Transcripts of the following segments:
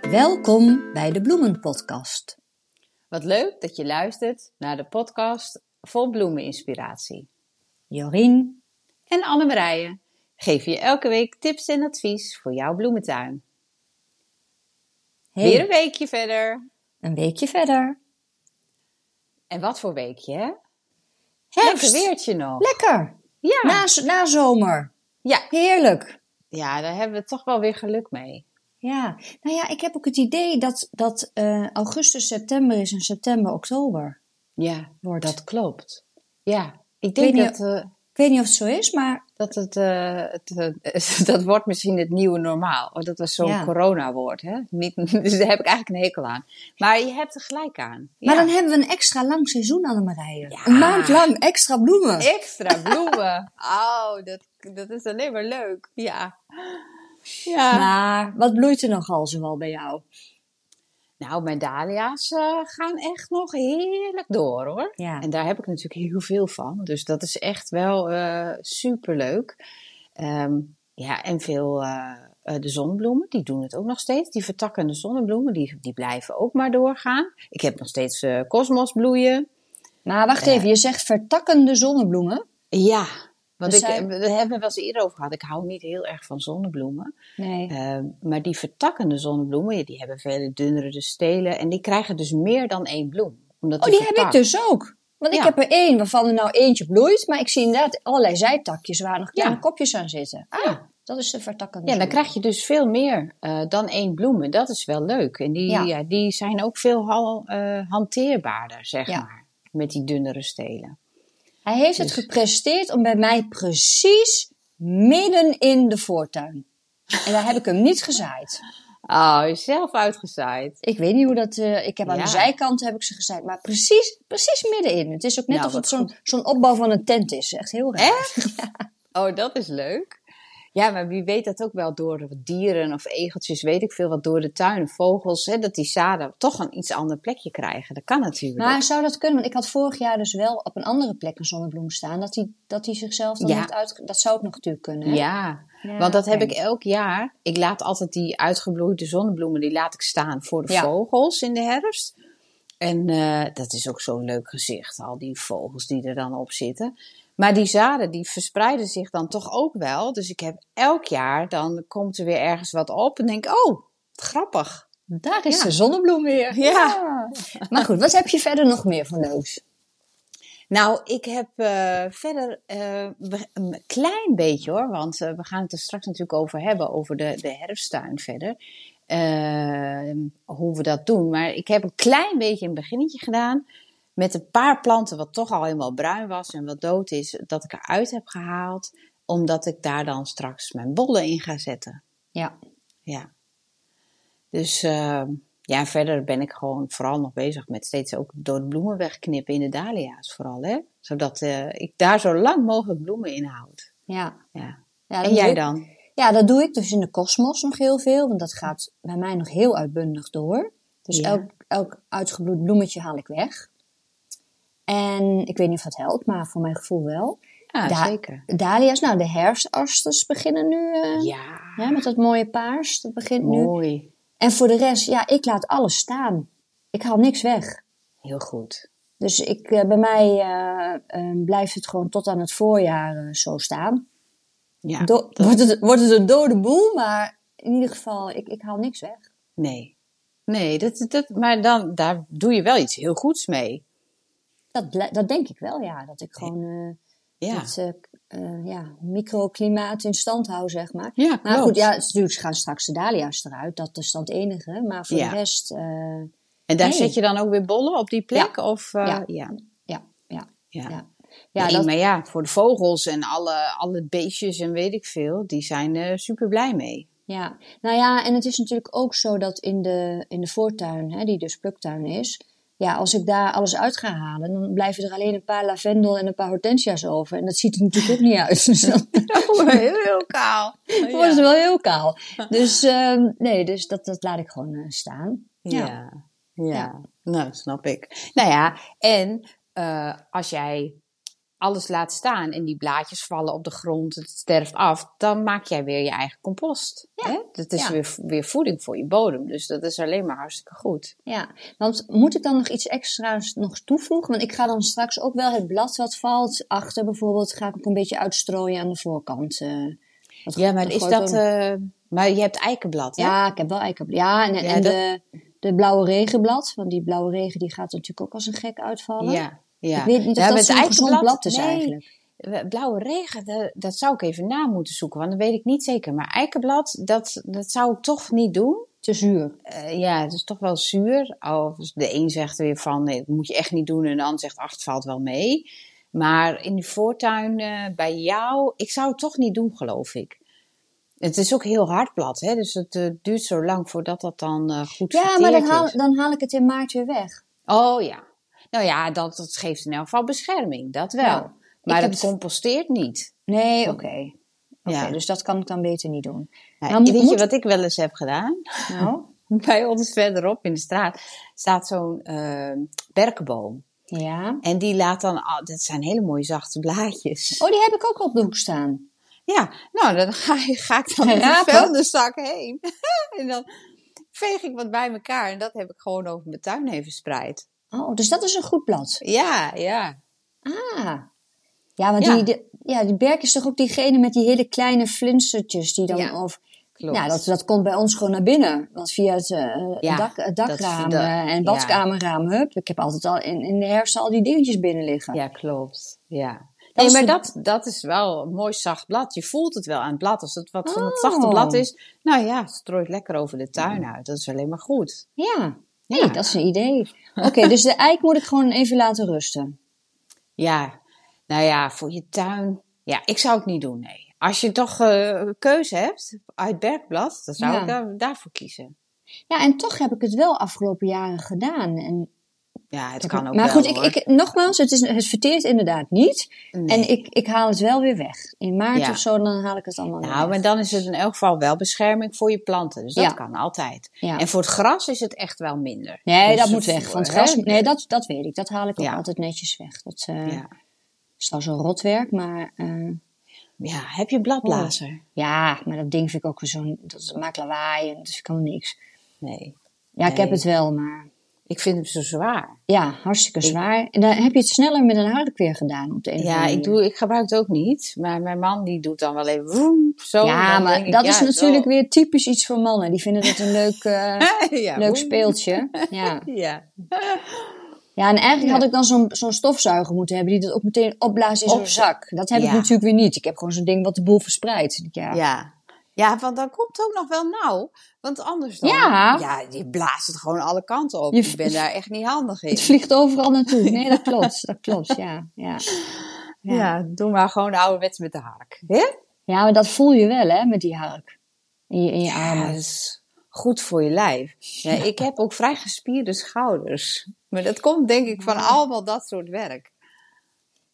Welkom bij de Bloemenpodcast. Wat leuk dat je luistert naar de podcast vol bloemeninspiratie. Jorien, En Annemarije geven je elke week tips en advies voor jouw bloementuin. Weer een hey, weekje verder. een weekje verder. En wat voor weekje, hè? Herfst. Nou. Lekker weertje nog. Lekker, Ja. na, na zomer. Ja. Heerlijk. ja, daar hebben we toch wel weer geluk mee. Ja, nou ja, ik heb ook het idee dat, dat eh, augustus, september is en september, oktober Ja, wordt. dat klopt. Ja, ik weet denk niet dat, eh, Ik weet niet of het zo is, maar dat het, eh, het eh, dat wordt misschien het nieuwe normaal. Oh, Dat was zo'n Ja. corona-woord, hè? Niet, dus daar heb ik eigenlijk een hekel aan. Maar je hebt er gelijk aan. Ja. maar dan hebben we een extra lang seizoen, Annemarije. Ja. Een maand lang extra bloemen. Extra bloemen. Oh, dat, dat is alleen maar leuk. Ja. ja. Nou, Maar wat bloeit er nogal zoal bij jou? nou, mijn dahlia's eh, gaan echt nog heerlijk door hoor. Ja, En daar heb ik natuurlijk heel veel van. Dus dat is echt wel eh superleuk. Ehm, ja, en veel eh, eh, de zonbloemen, die doen het ook nog steeds. Die vertakkende zonnebloemen, die, die blijven ook maar doorgaan. Ik heb nog steeds eh kosmos bloeien. maar wacht even, je zegt vertakkende zonnebloemen. Ja, want Dus ik, zij- we hebben het wel eens eerder over gehad. Ik hou niet heel erg van zonnebloemen. Nee. Eh, maar die vertakkende zonnebloemen, ja, die hebben vele dunnere dus stelen. En die krijgen dus meer dan één bloem. Omdat Oh, die heb ik vertakt- dus ook. Want ik Ja. heb er één waarvan er nou eentje bloeit, maar ik zie inderdaad allerlei zijtakjes waar nog kleine Ja. kopjes aan zitten. Ah, Ja. dat is de vertakkende. Ja, zon. dan krijg je dus veel meer eh, dan één bloem. En dat is wel leuk. En die, Ja. ja. die zijn ook veel hal- eh, hanteerbaarder, zeg Ja. maar. Met die dunnere stelen. Hij heeft het Dus- gepresteerd om bij mij precies midden in de voortuin. En daar heb ik hem niet gezaaid. Oh, zelf uitgezaaid. Ik weet niet hoe dat. eh, ik heb aan Ja. de zijkant heb ik ze gezaaid, maar precies, precies middenin. Het is ook net Nou, of het wat zo'n zo'n opbouw van een tent is. Echt heel raar. Oh, dat is leuk. Ja, maar wie weet dat ook wel door de dieren of egeltjes, weet ik veel wat, door de tuin, vogels, hè, dat die zaden toch een iets ander plekje krijgen. Dat kan natuurlijk. Maar zou dat kunnen? Want ik had vorig jaar dus wel op een andere plek een zonnebloem staan. Dat hij dat die zichzelf dan Ja. heeft uit. Dat zou ook nog natuurlijk kunnen. hè? ja, Ja, Want dat heb oké. ik elk jaar. Ik laat altijd die uitgebloeide zonnebloemen, die laat ik staan voor de Ja. vogels in de herfst. En eh, dat is ook zo'n leuk gezicht, al die vogels die er dan op zitten. Maar die zaden, die verspreiden zich dan toch ook wel. Dus ik heb elk jaar, dan komt er weer ergens wat op en denk, oh, wat grappig. Daar is Ja. de zonnebloem weer. Ja. Maar goed, wat heb je verder nog meer van leuks? Nou, ik heb eh, verder eh, we- een klein beetje hoor, want eh, we gaan het er straks natuurlijk over hebben, over de, de herfsttuin verder. Eh, hoe we dat doen. Maar ik heb een klein beetje een beginnetje gedaan met een paar planten wat toch al helemaal bruin was en wat dood is, dat ik eruit heb gehaald, omdat ik daar dan straks mijn bollen in ga zetten. Ja. Ja. Dus eh, ja, verder ben ik gewoon vooral nog bezig met steeds ook door de bloemen wegknippen in de dahlia's vooral, hè. Zodat eh, ik daar zo lang mogelijk bloemen in houd. Ja. Ja. ja dat En jij doe- dan? Ja, dat doe ik dus in de kosmos nog heel veel. Want dat gaat bij mij nog heel uitbundig door. Dus Ja. elk, elk uitgebloed bloemetje haal ik weg. En ik weet niet of dat helpt, maar voor mijn gevoel wel. Ja, Da- zeker. Dahlia's, nou de herfstasters beginnen nu. eh, Ja, Oh. hè, met dat mooie paars, dat begint nu. mooi. En voor de rest, ja, ik laat alles staan. Ik haal niks weg. Heel goed. Dus ik, eh, bij mij eh, eh, blijft het gewoon tot aan het voorjaar eh, zo staan. Ja, Do- wordt, het, wordt het een dode boel, maar in ieder geval, ik, ik haal niks weg. nee. Nee, dat, dat, maar dan, daar doe je wel iets heel goeds mee. Dat, bl- dat denk ik wel, ja. Dat ik gewoon eh Ja, het eh, k- eh, ja, microklimaat in stand hou, zeg maar. ja Maar Nou goed, klopt. ja, het is natuurlijk gaan straks de dahlia's eruit. Dat is dan het enige. Maar voor Ja. de rest, eh, En daar Nee. zet je dan ook weer bollen op die plek? Of, eh, Ja. ja. ja, ja. ja. Ja. Ja, Ja, dat, maar ja, voor de vogels en alle, alle beestjes en weet ik veel, die zijn er super blij mee. Ja, nou ja, en het is natuurlijk ook zo dat in de, in de voortuin, hè, die dus pluktuin is, ja, als ik daar alles uit ga halen, dan blijven er alleen een paar lavendel en een paar hortensia's over. En dat ziet er natuurlijk ook niet uit. Dus dan heel, heel kaal. wordt het wel heel kaal. Dus ehm, nee, dus dat, dat laat ik gewoon eh, staan. Ja. Ja. Ja. nou snap ik. Nou ja, en eh, als jij alles laat staan en die blaadjes vallen op de grond, het sterft af, dan maak jij weer je eigen compost. Ja. Hè? Dat is Ja. weer, weer voeding voor je bodem, dus dat is alleen maar hartstikke goed. Ja, want moet ik dan nog iets extra's nog toevoegen? Want ik ga dan straks ook wel het blad wat valt achter bijvoorbeeld, ga ik ook een beetje uitstrooien aan de voorkant. eh. Dat Ja, maar dat is gooi ik dat... wel- eh, maar je hebt eikenblad, hè? Ja, ik heb wel eikenblad. Ja, en, en, Ja, en dat- de, de blauwe regenblad, want die blauwe regen die gaat natuurlijk ook als een gek uitvallen. Ja, ja. Ik weet niet of Ja, dat met zo'n gezond eikenblad- blad is nee, eigenlijk. Blauwe regen, dat, dat zou ik even na moeten zoeken, want dat weet ik niet zeker. Maar eikenblad, dat, dat zou ik toch niet doen. Te zuur. Eh, ja, het is toch wel zuur. Als de een zegt weer van, nee, dat moet je echt niet doen. En de ander zegt, ach, het valt wel mee. Maar in de voortuin eh, bij jou, ik zou het toch niet doen, geloof ik. Het is ook heel hard blad, hè? dus het eh, duurt zo lang voordat dat dan eh, goed Ja, maar verteerd dan is. haal, dan haal ik het in maart weer weg. Oh ja. Nou ja, dat, dat geeft in elk geval bescherming, dat wel. Ja. Maar heb dat het- composteert niet. Nee, oké. Oké, Ja. dus dat kan ik dan beter niet doen. Nou, Nou, weet je moet- wat ik wel eens heb gedaan? Nou, Bij ons verderop in de straat staat zo'n eh, berkenboom. ja. En die laat dan, al- dat zijn hele mooie zachte blaadjes. Oh, die heb ik ook op de hoek staan. Ja, nou dan ga, je- ga ik dan met een Rapen. vuilniszak heen. en dan veeg ik wat bij elkaar en dat heb ik gewoon over mijn tuin heen verspreid. Oh, dus dat is een goed blad. Ja, ja. Ah. Ja, want Ja. Die, die- ja, die berk is toch ook diegene met die hele kleine flinsertjes die dan... Ja, of, klopt. Ja, Nou, dat, dat komt bij ons gewoon naar binnen. Want via het, eh, Ja, dak, het dakraam dat- dat- eh, en badkamerraam, hup. Ik heb altijd al in, in de herfst al die dingetjes binnen liggen. Ja, klopt. Ja. Dat Nee, is maar de- dat, dat is wel een mooi zacht blad. Je voelt het wel aan het blad. Als het wat van het Oh. zachte blad is, nou ja, het strooit lekker over de tuin uit. Dat is alleen maar goed. Ja. Ja. Hey, dat is een idee. Oké, dus de eik moet ik gewoon even laten rusten. Ja, nou ja, voor je tuin. Ja, ik zou het niet doen, nee. Als je toch eh, een keuze hebt uit berkblad, dan zou Ja. ik daar- daarvoor kiezen. Ja, en toch heb ik het wel afgelopen jaren gedaan. En, Ja, het kan ook maar wel, goed, ik, hoor. ik, nogmaals, het, is, het verteert inderdaad niet. Nee. En ik, ik haal het wel weer weg. In maart Ja. of zo, dan haal ik het allemaal weer Nou, weg. maar dan is het in elk geval wel bescherming voor je planten. Dus dat Ja. kan altijd. Ja. En voor het gras is het echt wel minder. Nee, Dus dat moet voor- weg. Want hè? gras, nee, dat, dat weet ik. Dat haal ik ook Ja. altijd netjes weg. Dat eh, Ja. is trouwens een rotwerk, maar eh, Ja, heb je bladblazer? ja, maar dat ding vind ik ook weer zo'n... Dat maakt lawaai en dus ik kan niks. Nee. Ja, ik heb Nee. het wel, maar... Ik vind hem zo zwaar. Ja, hartstikke zwaar. En dan heb je het sneller met een harde gedaan op de een of andere Ja, ik, manier. doe, ik gebruik het ook niet. Maar mijn man die doet dan wel even woem, zo. Ja, Dan maar denk ik, dat ja, is het natuurlijk weer typisch iets voor mannen. Die vinden het een leuk, eh, wel- ja, leuk woem. speeltje. Ja. Ja. ja, en eigenlijk Ja. had ik dan zo'n zo'n stofzuiger moeten hebben die dat ook meteen opblaast in zo'n Op- zak. Dat heb ik Ja. natuurlijk weer niet. Ik heb gewoon zo'n ding wat de boel verspreidt. Ja. ja. Ja, want dan komt het ook nog wel nauw. Want anders dan... Ja. Ja, je blaast het gewoon alle kanten op. Je- Ik ben daar echt niet handig in. Het vliegt overal naartoe. Nee, dat klopt. Dat klopt, ja. Ja, ja. Ja, doe maar gewoon ouderwets met de hark. Hè? Ja, maar dat voel je wel, hè, met die hark. In je, in je Ja, armen. dat is goed voor je lijf. Ja, ik heb ook vrij gespierde schouders. Maar dat komt denk ik van allemaal dat soort werk.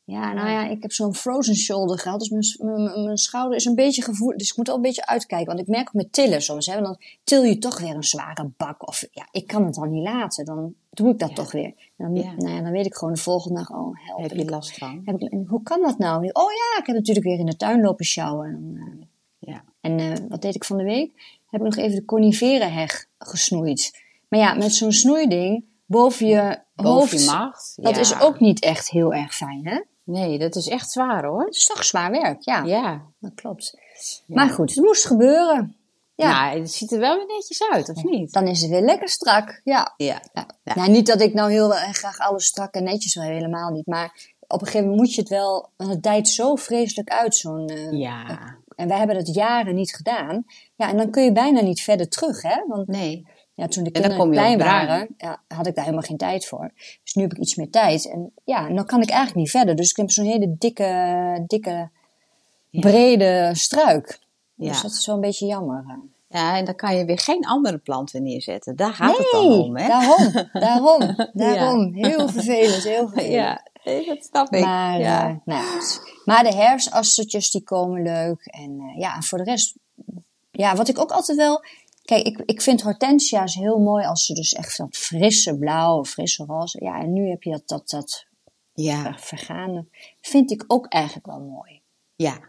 Ja, nou ja, ik heb zo'n frozen shoulder gehad. Dus mijn, s- mijn- mijn, mijn schouder is een beetje gevoelig. Dus ik moet al een beetje uitkijken. Want ik merk ook met tillen soms. Hè, want dan til je toch weer een zware bak. Of ja, ik kan het dan niet laten. Dan doe ik dat Ja. toch weer. En Dan, Ja. Nou ja, dan weet ik gewoon de volgende dag. Oh, help. Heb je ik- last van? heb ik- en hoe kan dat nou? Oh ja, ik heb natuurlijk weer in de tuin lopen sjouwen. En, dan, eh, Ja. en eh, wat deed ik van de week? Heb ik nog even de coniferenheg gesnoeid. Maar ja, met zo'n snoeiding boven je Boven hoofd. je macht. dat ja. is ook niet echt heel erg fijn, hè? Nee, dat is echt zwaar hoor. Het is toch zwaar werk, ja. Ja. Dat klopt. Maar goed, het moest gebeuren. Ja. Ja. het ziet er wel weer netjes uit, of niet? Dan is het weer lekker strak. Ja. Ja. ja. Ja. Nou, niet dat ik nou heel eh, graag alles strak en netjes wil, helemaal niet. Maar op een gegeven moment moet je het wel. Want het dijt zo vreselijk uit, zo'n. eh, Ja. En wij hebben dat jaren niet gedaan. Ja, en dan kun je bijna niet verder terug, hè? Want Nee. ja, toen de dan kinderen kom je klein op bruin. waren, ja, had ik daar helemaal geen tijd voor. Dus nu heb ik iets meer tijd. En ja, en dan kan ik eigenlijk niet verder. Dus ik heb zo'n hele dikke, dikke, Ja. brede struik. Dus Ja. dat is wel een beetje jammer. hè. ja, en dan kan je weer geen andere planten neerzetten. Daar gaat het dan Nee, om, hè? Daarom, daarom, daarom. Heel vervelend, heel vervelend. Ja, nee, dat snap ik. Maar, ja. eh, nou, ja, goed. maar de herfstassertjes die komen leuk. En eh, ja, en voor de rest, ja, wat ik ook altijd wel. Kijk, ik, ik vind hortensia's heel mooi als ze dus echt dat frisse blauw, frisse roze. Ja, en nu heb je dat, dat, dat Ja, ver- vergane, vind ik ook eigenlijk wel mooi. ja, Daar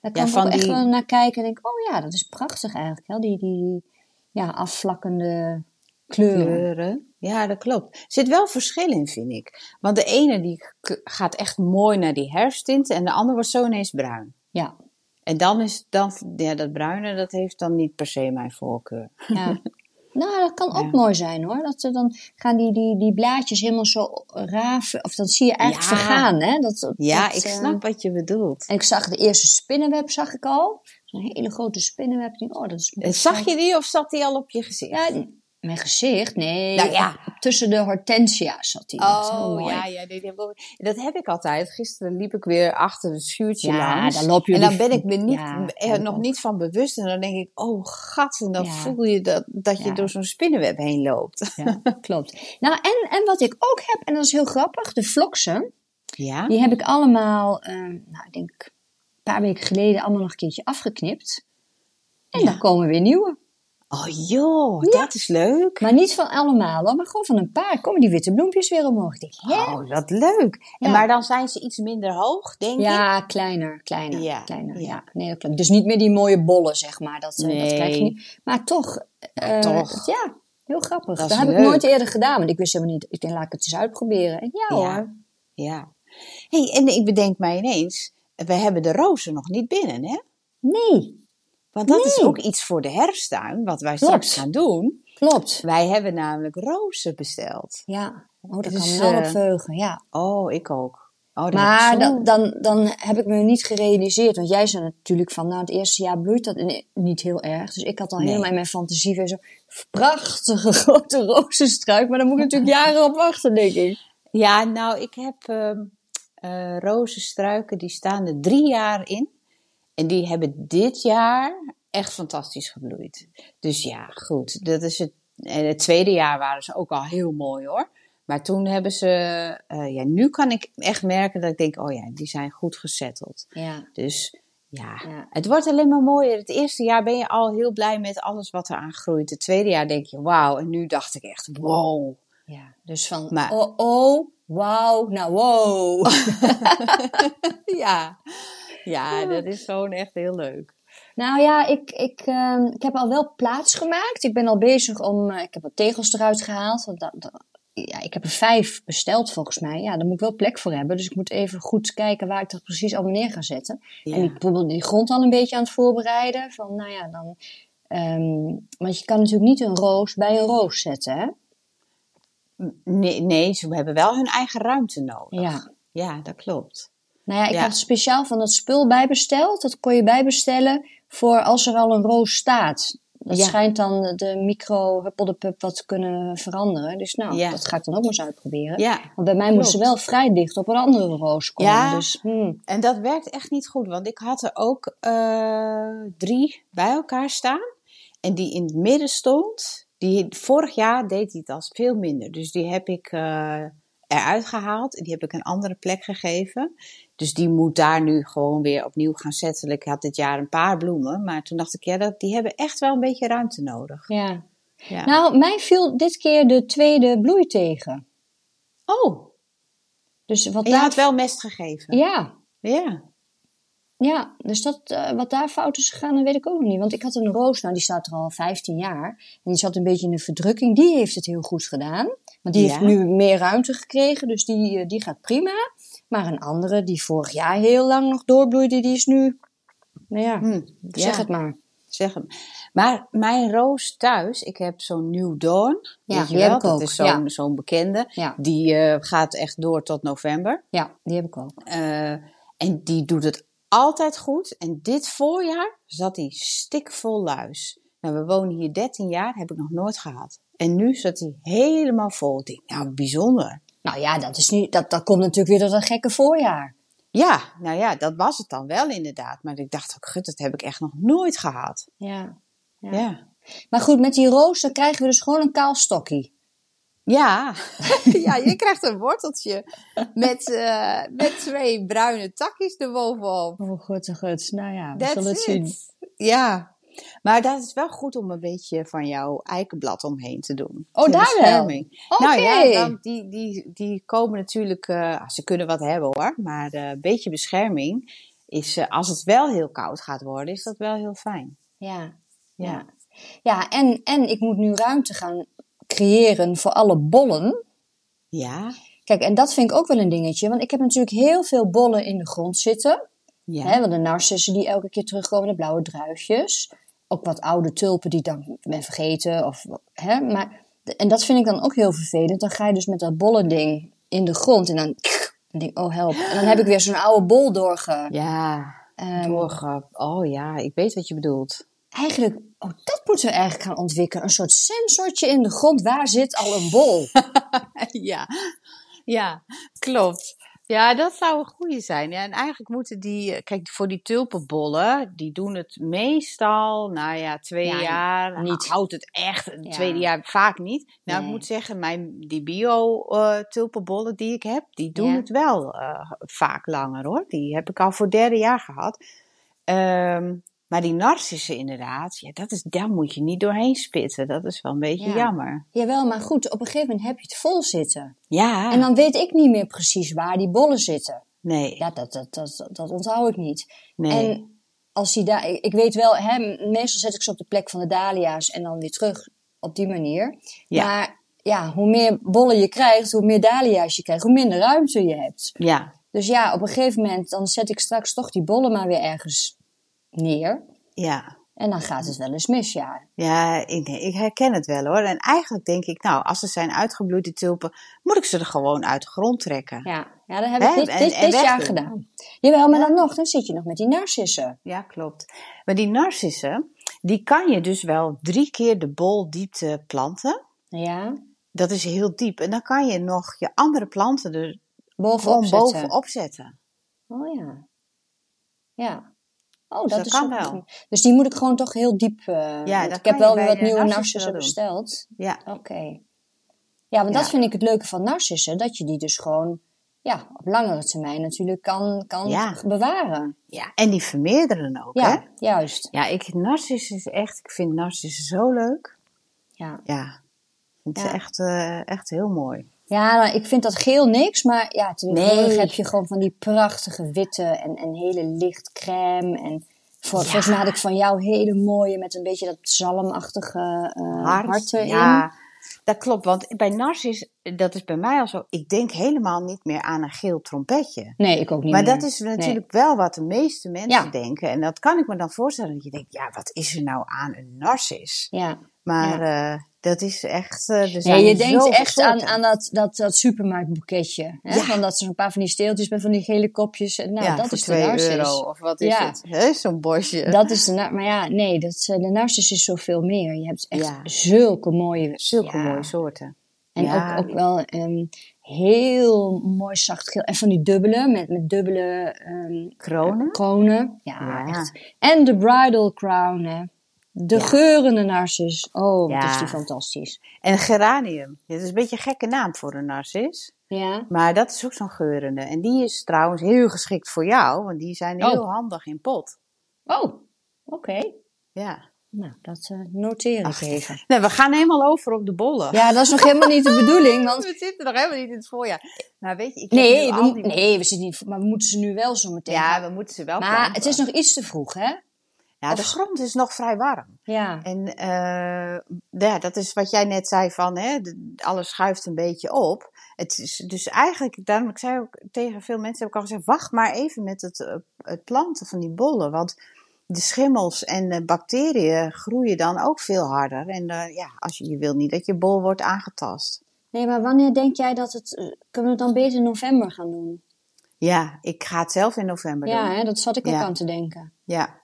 Ja, kan ik van ook echt die- wel naar kijken en denk, oh ja, dat is prachtig eigenlijk. Hè? Die, die ja, afvlakkende kleuren. kleuren. Ja, dat klopt. Er zit wel verschil in, vind ik. Want de ene die k- gaat echt mooi naar die herfsttint en de ander wordt zo ineens bruin. Ja, En dan is dan, ja, dat bruine, dat heeft dan niet per se mijn voorkeur. ja. nou, dat kan ook Ja. mooi zijn hoor. Dat ze dan gaan die, die, die blaadjes helemaal zo raven. Of dan zie je eigenlijk Ja. vergaan. Hè? Dat, dat- Ja, dat, ik eh, snap wat je bedoelt. en ik zag de eerste spinnenweb, zag ik al. Zo'n hele grote spinnenweb. Ik denk, oh, dat is Eh, Zag je die of zat die al op je gezicht? Ja, n- mijn gezicht, nee. Nou ja. Tussen de hortensia's zat hij. Dat is heel Oh mooi. ja, ja die- die heb ik ook- dat heb ik altijd. Gisteren liep ik weer achter een schuurtje Ja, langs. daar loop je en dan die- ben ik me dus niet, Ja, eh, heb ik nog ook. niet van bewust. En dan denk ik, oh gat. En dan Ja. voel je dat, dat je Ja. door zo'n spinnenweb heen loopt. Ja, klopt. Nou, en, en wat ik ook heb, en dat is heel grappig, de vloksen. Ja? Die heb ik allemaal, eh, nou, ik denk een paar weken geleden, allemaal nog een keertje afgeknipt. En Ja. dan komen weer nieuwe. Oh joh, dat is leuk. Maar niet van allemaal, hoor, maar gewoon van een paar komen die witte bloempjes weer omhoog. Ik denk, hè? Oh, dat leuk. Ja. En maar dan zijn ze iets minder hoog, denk ik. Ja, kleiner, kleiner, Ja, kleiner. ja. Ja. Nee, dat klopt. Dus niet meer die mooie bollen, zeg maar. Dat, eh, dat Nee. krijg je niet. Maar toch, eh, toch. ja, heel grappig. Dat Dat, is heb leuk. ik nooit eerder gedaan, want ik wist helemaal niet. Ik denk, laat ik het eens uitproberen. En ja, hoor. Ja. hey, en ik bedenk mij ineens, we hebben de rozen nog niet binnen, hè? Nee, Want dat is Nee. ook iets voor de herfsttuin, wat wij straks Klopt. gaan doen. klopt. Wij hebben namelijk rozen besteld. Ja, oh, dat Dus, kan me wel eh, op verheugen, ja. Oh, ik ook. Oh, dat Maar heb ik zo- dan, dan, dan heb ik me niet gerealiseerd. Want jij zei natuurlijk van, nou het eerste jaar bloeit dat in- niet heel erg. Dus ik had al Nee. helemaal in mijn fantasie weer zo'n prachtige grote rozenstruik. Maar daar moet ik natuurlijk jaren op wachten, denk ik. Ja, nou, ik heb ehm eh, rozenstruiken, die staan er drie jaar in. En die hebben dit jaar echt fantastisch gebloeid. Dus ja, goed. Dat is het, en het tweede jaar waren ze ook al heel mooi hoor. Maar toen hebben ze, eh, ja, nu kan ik echt merken dat ik denk, oh ja, die zijn goed gezetteld. Ja, Dus ja, Ja. het wordt alleen maar mooier. Het eerste jaar ben je al heel blij met alles wat eraan groeit. Het tweede jaar denk je, wauw. En nu dacht ik echt, wow. ja. dus van, Maar- oh, oh, wauw, nou wow. Ja, ja dat is gewoon echt heel leuk. Nou ja, ik, ik, ehm, ik heb al wel plaats gemaakt. Ik ben al bezig om. eh, ik heb wat tegels eruit gehaald. Want dat, dat- ja, ik heb er vijf besteld volgens mij. Ja, daar moet ik wel plek voor hebben. Dus ik moet even goed kijken waar ik dat precies allemaal neer ga zetten. Ja. En ik bijvoorbeeld die grond al een beetje aan het voorbereiden. Van nou ja, dan. ehm, want je kan natuurlijk niet een roos bij een roos zetten, hè? mm, Nee, nee, ze hebben wel hun eigen ruimte nodig. Ja. Ja, dat klopt. Nou ja, ik Ja. had speciaal van dat spul bijbesteld. Dat kon je bijbestellen voor als er al een roos staat. Dat Ja. schijnt dan de micro huppeldepup wat te kunnen veranderen. Dus nou, Ja. dat ga ik dan ook maar eens uitproberen. Ja, Want bij mij moest ze klopt. wel vrij dicht op een andere roos komen. Ja. Dus, hmm. en dat werkt echt niet goed, want ik had er ook eh, drie bij elkaar staan. En die in het midden stond, die, vorig jaar deed hij dat veel minder. Dus die heb ik eh, eruit gehaald en die heb ik een andere plek gegeven. Dus die moet daar nu gewoon weer opnieuw gaan zetten. Ik had dit jaar een paar bloemen, maar toen dacht ik, ja, dat, die hebben echt wel een beetje ruimte nodig. ja. Ja. Nou, mij viel dit keer de tweede bloei tegen. oh, Dus wat En je daar... had wel mest gegeven. Ja, Ja. ja. dus dat, eh, wat daar fout is gegaan, dat weet ik ook nog niet. Want ik had een roos, nou die staat er al 15 jaar. En die zat een beetje in de verdrukking. Die heeft het heel goed gedaan. Want die Ja. heeft nu meer ruimte gekregen, dus die, eh, die gaat prima. Maar een andere die vorig jaar heel lang nog doorbloeide, die is nu... Nou ja, Hm, zeg ja, het maar. Zeg hem. Maar mijn roos thuis, ik heb zo'n New Dawn. Ja, weet je die wel? heb ik dat ook, is zo'n ja. zo'n bekende. Ja. Die eh, gaat echt door tot november. Ja, die heb ik ook. Eh, en die doet het altijd goed. En dit voorjaar zat hij stikvol luis. Nou, we wonen hier 13 jaar, heb ik nog nooit gehad. En nu zat hij helemaal vol. Ik denk, nou, bijzonder. Nou ja, dat, is niet, dat, dat komt natuurlijk weer door dat gekke voorjaar. Ja, nou ja, dat was het dan wel inderdaad. Maar ik dacht ook, gut, dat heb ik echt nog nooit gehad. Ja. Ja. ja. Maar goed, met die roos, dan krijgen we dus gewoon een kaal stokkie. Ja. ja, je krijgt een worteltje met, eh, met twee bruine takjes erbovenop. Oh, goed, goed. Nou ja, That's it. Ja. Maar dat is wel goed om een beetje van jouw eikenblad omheen te doen. Oh, Ter daar wel? bescherming. Oké. Nou ja, dan, die, die, die komen natuurlijk, eh, ah, ze kunnen wat hebben hoor, maar eh, een beetje bescherming is, eh, als het wel heel koud gaat worden, is dat wel heel fijn. Ja, Ja. ja. ja en, en ik moet nu ruimte gaan creëren voor alle bollen. Ja, Kijk, en dat vind ik ook wel een dingetje. Want ik heb natuurlijk heel veel bollen in de grond zitten. ja. Hè, want de narcissen die elke keer terugkomen, de blauwe druifjes. Ook wat oude tulpen die ik dan ben vergeten. Of, hè, maar, en dat vind ik dan ook heel vervelend. Dan ga je dus met dat bollending in de grond. En dan, dan denk ik, oh help. En dan heb ik weer zo'n oude bol doorge... Ja, ehm, doorge... Oh ja, ik weet wat je bedoelt. eigenlijk, oh, dat moeten we eigenlijk gaan ontwikkelen. Een soort sensortje in de grond. Waar zit al een bol? ja. ja, klopt. Ja, dat zou een goede zijn. Ja, en eigenlijk moeten die, eh, kijk, voor die tulpenbollen, die doen het meestal, nou ja, twee Ja, jaar. Nou, niet. Houdt het echt, het Ja. tweede jaar vaak niet. Nou, Nee. ik moet zeggen, mijn, die bio-tulpenbollen die ik heb, die doen Ja. het wel eh, vaak langer hoor. Die heb ik al voor het derde jaar gehad. Ehm, maar die narcissen inderdaad, ja, dat is, daar moet je niet doorheen spitten. Dat is wel een beetje Ja. jammer. Jawel, maar goed, op een gegeven moment heb je het vol zitten. Ja, En dan weet ik niet meer precies waar die bollen zitten. nee. Ja, dat, dat, dat, dat onthoud ik niet. nee. En als die daar, ik, ik weet wel, hè, meestal zet ik ze op de plek van de dahlia's en dan weer terug op die manier. Ja. Maar ja, hoe meer bollen je krijgt, hoe meer dahlia's je krijgt, hoe minder ruimte je hebt. Ja, Dus ja, op een gegeven moment dan zet ik straks toch die bollen maar weer ergens neer. ja. En dan gaat het wel eens mis, ja. Ja, ik, ik herken het wel hoor. En eigenlijk denk ik, nou, als ze zijn uitgebloeid, die tulpen, moet ik ze er gewoon uit de grond trekken. Ja, Ja, ja dat heb Hè? ik dit, En- dit, en dit weg jaar doen. gedaan. Jawel, maar dan nog, dan zit je nog met die narcissen. klopt. Maar die narcissen, die kan je dus wel drie keer de bol diepte planten. Ja, Dat is heel diep. En dan kan je nog je andere planten er bovenop gewoon zetten. bovenop zetten. Oh ja. Ja. Oh, Dus dat, dat is kan ook- wel. Dus die moet ik gewoon toch heel diep... eh, want dat ik heb kan je wel bij weer wat de nieuwe narcissen narcissen wel doen. besteld. Ja, Oké. Ja, want dat Ja. vind ik het leuke van narcissen. Dat je die dus gewoon ja, op langere termijn natuurlijk kan, kan Ja. bewaren. ja. En die vermeerderen ook, hè? Ja, juist. Ja, ik, narcissen is echt, ik vind narcissen zo leuk. Ja. Ja, ik vind ze Ja. echt, eh, echt heel mooi. Ja, nou, ik vind dat geel niks, maar ja, tegenwoordig Nee. heb je gewoon van die prachtige witte en, en hele licht crème. En voor, Ja. volgens mij had ik van jou hele mooie met een beetje dat zalmachtige eh hart. harten ja, in. dat klopt. Want bij Narcis, dat is bij mij al zo, ik denk helemaal niet meer aan een geel trompetje. Nee, ik ook niet Maar meer. dat is natuurlijk wel wat de meeste mensen Ja. denken. En dat kan ik me dan voorstellen. Dat je denkt, ja, wat is er nou aan een narcis? Ja. Maar eh, dat is echt... eh, er zijn Nee, je denkt zoveel echt aan, soorten. aan dat, dat, dat supermarktboeketje. Hè? Ja. Van dat ze een paar van die steeltjes met van die gele kopjes. En Nou, ja, dat voor is de 2 narcis. euro of wat is Ja. het? Hè, Zo'n bosje. Dat is de nar- maar ja, nee, dat, is, eh, de narcis is zoveel meer. Je hebt echt Ja. zulke mooie... Zulke ja. mooie soorten. En Ja. ook, ook wel ehm, heel mooi zacht geel. En van die dubbele, met, met dubbele ehm, Kronen. kronen. Ja, Hm? Ja. echt. En de bridal crown, hè. De Ja. geurende narcis. Oh, wat Ja. is die fantastisch. En geranium. Dit is een beetje een gekke naam voor een narcis. Ja. Maar dat is ook zo'n geurende. En die is trouwens heel geschikt voor jou, want die zijn heel Oh. handig in pot. Oh, oké. Ja. Nou, dat eh noteer ik Ach. even. Nou, we gaan helemaal over op de bollen. Ja, dat is nog helemaal niet de bedoeling, want... We zitten nog helemaal niet in het voorjaar. Maar weet je, ik heb Nee, nu we, al mo- die- nee, we zitten niet... Maar we moeten ze nu wel zo meteen... Ja, we moeten ze wel maar planten. het is nog iets te vroeg, hè? Ja, de grond is nog vrij warm. Ja. En eh, ja, dat is wat jij net zei van, hè, de- alles schuift een beetje op. Het is, dus eigenlijk, daarom ik zei ook tegen veel mensen, heb ik al gezegd, wacht maar even met het, eh, het planten van die bollen. Want de schimmels en de bacteriën groeien dan ook veel harder. En eh, ja, als je, je wil niet dat je bol wordt aangetast. Nee, maar wanneer denk jij dat het... eh, Kunnen we het dan beter in november gaan doen? Ja, ik ga het zelf in november Ja, doen. hè, dat zat ik ook Ja. aan te denken. Ja.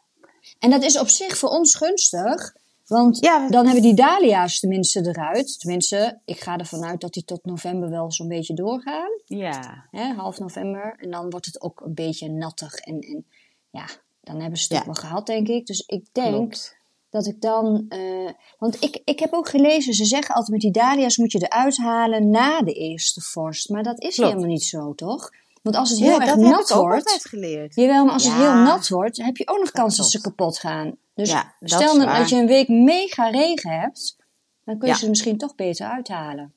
En dat is op zich voor ons gunstig. Want Ja, we- dan hebben die dahlia's tenminste eruit. Tenminste, ik ga ervan uit dat die tot november wel zo'n beetje doorgaan. Ja. Hè, half november. En dan wordt het ook een beetje nattig. En, en ja, dan hebben ze het Ja. ook wel gehad, denk ik. Dus ik denk Klopt. dat ik dan... eh, want ik, ik heb ook gelezen, ze zeggen altijd met die dahlia's moet je eruit halen na de eerste vorst. Maar dat is Klopt. helemaal niet zo, toch? Want als het heel erg dat nat heb ik ook wordt. altijd geleerd. Jawel, maar als het Ja. heel nat wordt, heb je ook nog kans dat klopt. ze kapot gaan. Dus Ja, dat stel is dan waar. dat je een week mega regen hebt, dan kun je Ja. ze er misschien toch beter uithalen.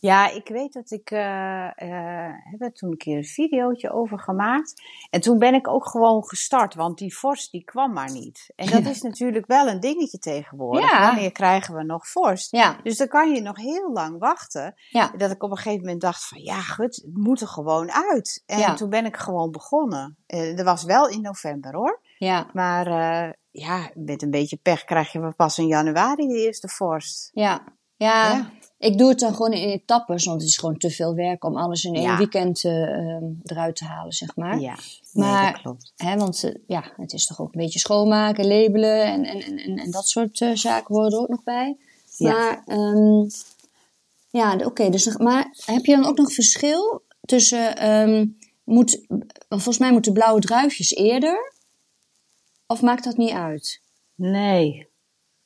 Ja, ik weet dat ik eh eh heb er toen een keer een videootje over gemaakt. En toen ben ik ook gewoon gestart, want die vorst die kwam maar niet. En dat Ja. is natuurlijk wel een dingetje tegenwoordig. Ja. Wanneer krijgen we nog vorst? Ja, Dus dan kan je nog heel lang wachten. ja. Dat ik op een gegeven moment dacht van ja, gut, het moet er gewoon uit. En Ja. toen ben ik gewoon begonnen. Eh dat was wel in november hoor. Ja, Maar eh, ja, met een beetje pech krijg je maar pas in januari de eerste vorst. ja, ja. Ja. Ik doe het dan gewoon in etappes, want het is gewoon te veel werk om alles in één Ja. weekend eh, ehm, eruit te halen, zeg maar. Ja, nee, Maar- dat klopt. Hè, want eh, ja, het is toch ook een beetje schoonmaken, labelen en, en, en, en, en dat soort eh, zaken horen er ook nog bij. Ja. Maar, ehm, ja, de- oké. dus, nog- maar heb je dan ook nog verschil tussen, ehm, moet, want volgens mij moeten blauwe druifjes eerder? Of maakt dat niet uit? Nee.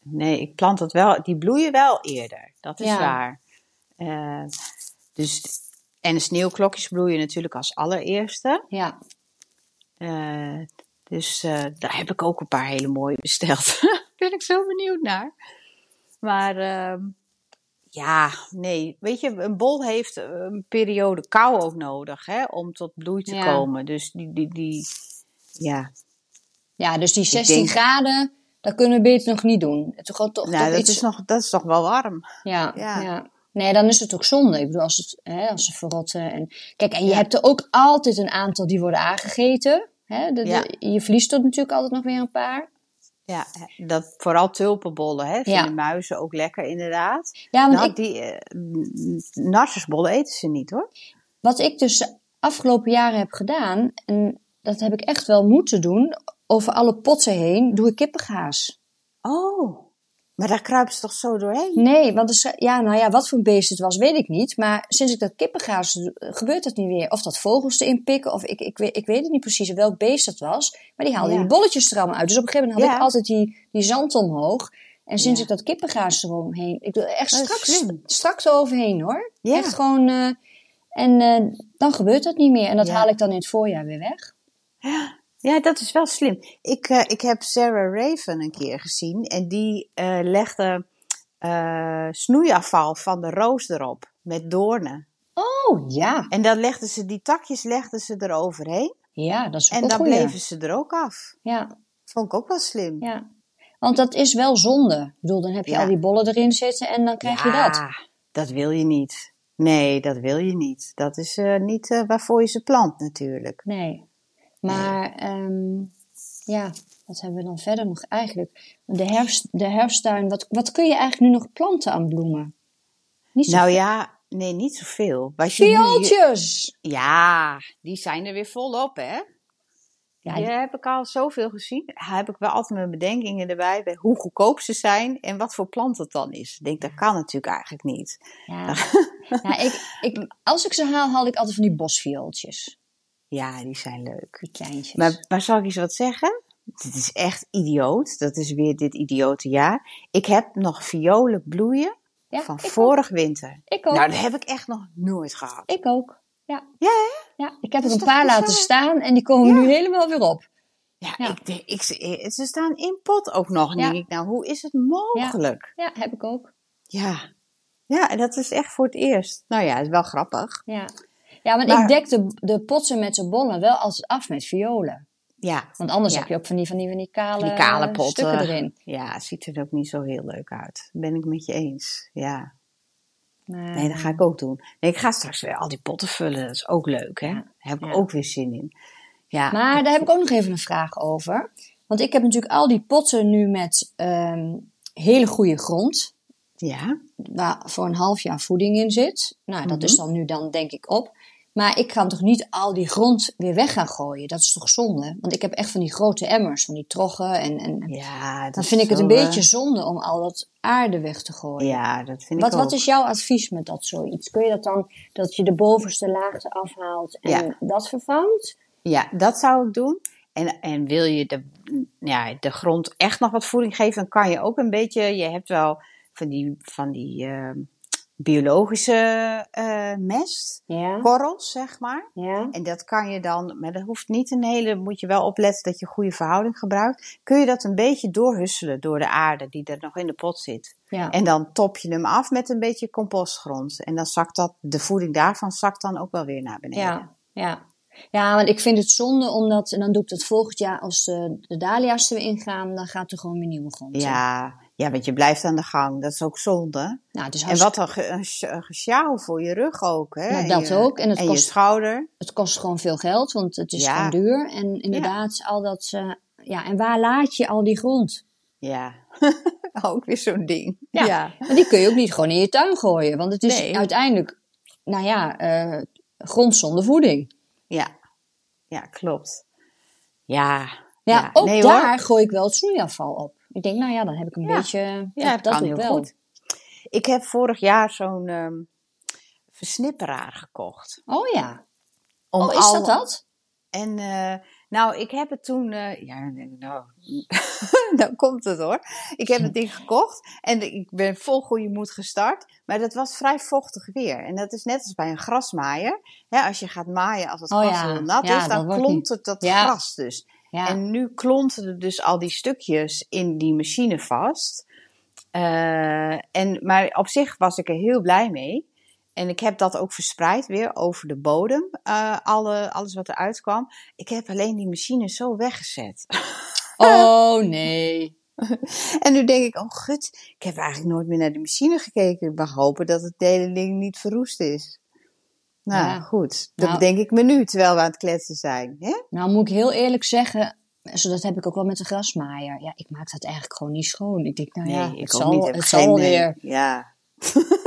Nee, ik plant dat wel. Die bloeien wel eerder. Dat is Ja. waar. Eh, dus, en de sneeuwklokjes bloeien natuurlijk als allereerste. Ja, Eh, dus eh, daar heb ik ook een paar hele mooie besteld. ben ik zo benieuwd naar. Maar ehm, ja, nee. Weet je, een bol heeft een periode kou ook nodig hè, om tot bloei te Ja. komen. Dus die, die, die, ja, ja dus die 16 denk- graden, dat kunnen we beter nog niet doen. Het is gewoon toch, nou, toch dat, iets- is nog, dat is nog wel warm. Ja, ja. Ja. Nee, dan is het ook zonde. Ik bedoel, als, het, hè, als ze verrotten. En... Kijk, en je hebt er ook altijd een aantal die worden aangegeten. Hè? De- de- Je verliest er natuurlijk altijd nog weer een paar. Ja, dat, vooral tulpenbollen hè, vinden Ja. muizen ook lekker inderdaad. Ja, want Nou, ik, die eh, n- narcisbollen eten ze niet hoor. wat ik dus afgelopen jaren heb gedaan, en dat heb ik echt wel moeten doen, over alle potten heen doe ik kippengaas. Oh, maar daar kruipen ze toch zo doorheen? Nee, want er sch- ja, nou ja, wat voor beest het was, weet ik niet. Maar sinds ik dat kippengaas doe, eh, gebeurt dat niet weer. Of dat vogels erin pikken, of ik, ik, weet, ik weet het niet precies welk beest dat was. Maar die haalden Ja. die bolletjes er allemaal uit. Dus op een gegeven moment had Ja. ik altijd die, die zand omhoog. En sinds Ja. ik dat kippengaas eromheen... Ik doe er echt Dat is straks, slim. straks overheen hoor. Ja. Echt gewoon... eh, en eh, dan gebeurt dat niet meer. En dat Ja. haal ik dan in het voorjaar weer weg. Ja, dat is wel slim. Ik, eh, ik heb Sarah Raven een keer gezien en die eh, legde eh, snoeiafval van de roos erop met doornen. Oh, ja. En dan legden ze, die takjes legden ze eroverheen Ja, dat is ook en een dan goeie. bleven ze er ook af. Ja. Vond ik ook wel slim. Ja, want dat is wel zonde. Ik bedoel, dan heb je Ja. al die bollen erin zitten en dan krijg je dat. Dat wil je niet. Nee, dat wil je niet. Dat is eh, niet eh, waarvoor je ze plant natuurlijk. Nee. Maar ehm, ja, wat hebben we dan verder nog eigenlijk? De, herfst, de herfsttuin, wat, wat kun je eigenlijk nu nog planten aan bloemen? Niet zo Nou ja, nee, niet zoveel. Wat je nu- Viooltjes! ja, die zijn er weer volop, hè? Ja, die die- heb ik al zoveel gezien. Daar heb ik wel altijd mijn bedenkingen erbij bij hoe goedkoop ze zijn en wat voor plant het dan is. Ik denk, dat kan natuurlijk eigenlijk niet. ja. ja ik, ik, als ik ze haal, haal ik altijd van die bosviooltjes. Ja, die zijn leuk. Die kleintjes. Maar, maar zal ik eens wat zeggen? Dit is echt idioot. Dat is weer dit idiote jaar. Ik heb nog violen bloeien ja, van ik vorig winter. Ook, ik ook. Nou, dat heb ik echt nog nooit gehad. ik ook. Ja, hè? Ja, ik heb er is een toch paar bizar? laten staan en die komen nu helemaal weer op. Ja, Ja. Ik, denk- ik, ze- ze staan in pot ook nog. En Ja. denk ik, nou, hoe is het mogelijk? Ja, heb ik ook. Ja. ja. en dat is echt voor het eerst. Nou ja, het is wel grappig. Ja, ja want ik Maar- dek de, de potsen met de bollen wel altijd af met violen. Ja, Want anders Ja. heb je ook van die, van die, van die kale, die kale eh, potten. stukken erin. Ja, het ziet er ook niet zo heel leuk uit. Ben ik met je eens. Ja. Maar, Nee, dat ga ik ook doen. Nee, ik ga straks weer al die potten vullen. Dat is ook leuk, hè? Daar heb ik Ja. ook weer zin in. Ja. maar daar heb ik ook nog even een vraag over. Want ik heb natuurlijk al die potten nu met ehm, hele goede grond. Ja. Waar voor een half jaar voeding in zit. Nou, dat Mhm. is dan nu dan denk ik op. Maar ik ga hem toch niet al die grond weer weg gaan gooien. Dat is toch zonde? Want ik heb echt van die grote emmers, van die troggen. En, en en Ja, dat dan is vind ik het zo, een eh, beetje zonde om al dat aarde weg te gooien. Ja, dat vind Wat, ik ook. wat is jouw advies met dat zoiets? Kun je dat dan, dat je de bovenste laagte afhaalt en Ja. dat vervangt? Ja, dat zou ik doen. En, en wil je de, ja, de grond echt nog wat voeding geven, dan kan je ook een beetje. Je hebt wel van die, van die ehm, biologische eh, mest, Ja, korrels zeg maar. ja. En dat kan je dan, maar dat hoeft niet een hele, moet je wel opletten dat je goede verhouding gebruikt. Kun je dat een beetje doorhusselen door de aarde die er nog in de pot zit. ja. En dan top je hem af met een beetje compostgrond. En dan zakt dat, de voeding daarvan zakt dan ook wel weer naar beneden. Ja, ja. Ja, want ik vind het zonde omdat, en dan doe ik dat volgend jaar als eh, de dahlia's er weer ingaan, dan gaat er gewoon weer nieuwe grond in. ja, ja, want je blijft aan de gang. Dat is ook zonde. Nou, het is En hartstikke- wat een ge- een sj- een gesjouw voor je rug ook. Hè? Nou, En dat je- ook. En het En je kost- schouder. het kost gewoon veel geld, want het is Ja. gewoon duur. En inderdaad, al dat, eh, ja, en waar laat je al die grond? Ja, ook weer zo'n ding. Ja. Want die kun je ook niet gewoon in je tuin gooien, want het is Nee. uiteindelijk, nou ja, eh, grond zonder voeding. Ja, ja klopt. Ja. Ja, Ja, ook nee hoor. daar gooi ik wel het snoeiafval op. Ik denk, nou ja, dan heb ik een Ja. beetje, Ja, dat, kan doe heel ik wel. goed. Ik heb vorig jaar zo'n ehm, versnipperaar gekocht. Oh ja, Om oh, is al- dat dat? En eh, nou, ik heb het toen... eh, ja, nou, nou komt het hoor. Ik heb het ding gekocht en ik ben vol goede moed gestart. Maar dat was vrij vochtig weer. En dat is net als bij een grasmaaier. Hè, als je gaat maaien als het Oh gras ja, heel nat ja, is, dat dan wordt niet. klont het dat Ja. gras dus. Ja. En nu klonten er dus al die stukjes in die machine vast. Eh, en, maar op zich was ik er heel blij mee. En ik heb dat ook verspreid weer over de bodem, eh, alle, alles wat eruit kwam. Ik heb alleen die machine zo weggezet. Oh nee. en nu denk ik, oh gut, ik heb eigenlijk nooit meer naar de machine gekeken. Ik mag hopen dat het hele ding niet verroest is. Nou, Ja. goed. Dat Nou. bedenk ik me nu, terwijl we aan het kletsen zijn. Hè? Nou moet ik heel eerlijk zeggen, zo dat heb ik ook wel met de grasmaaier. Ja, ik maak dat eigenlijk gewoon niet schoon. Ik denk, nou ja, het zal, Heb het geen, zal wel eh, weer. Ja.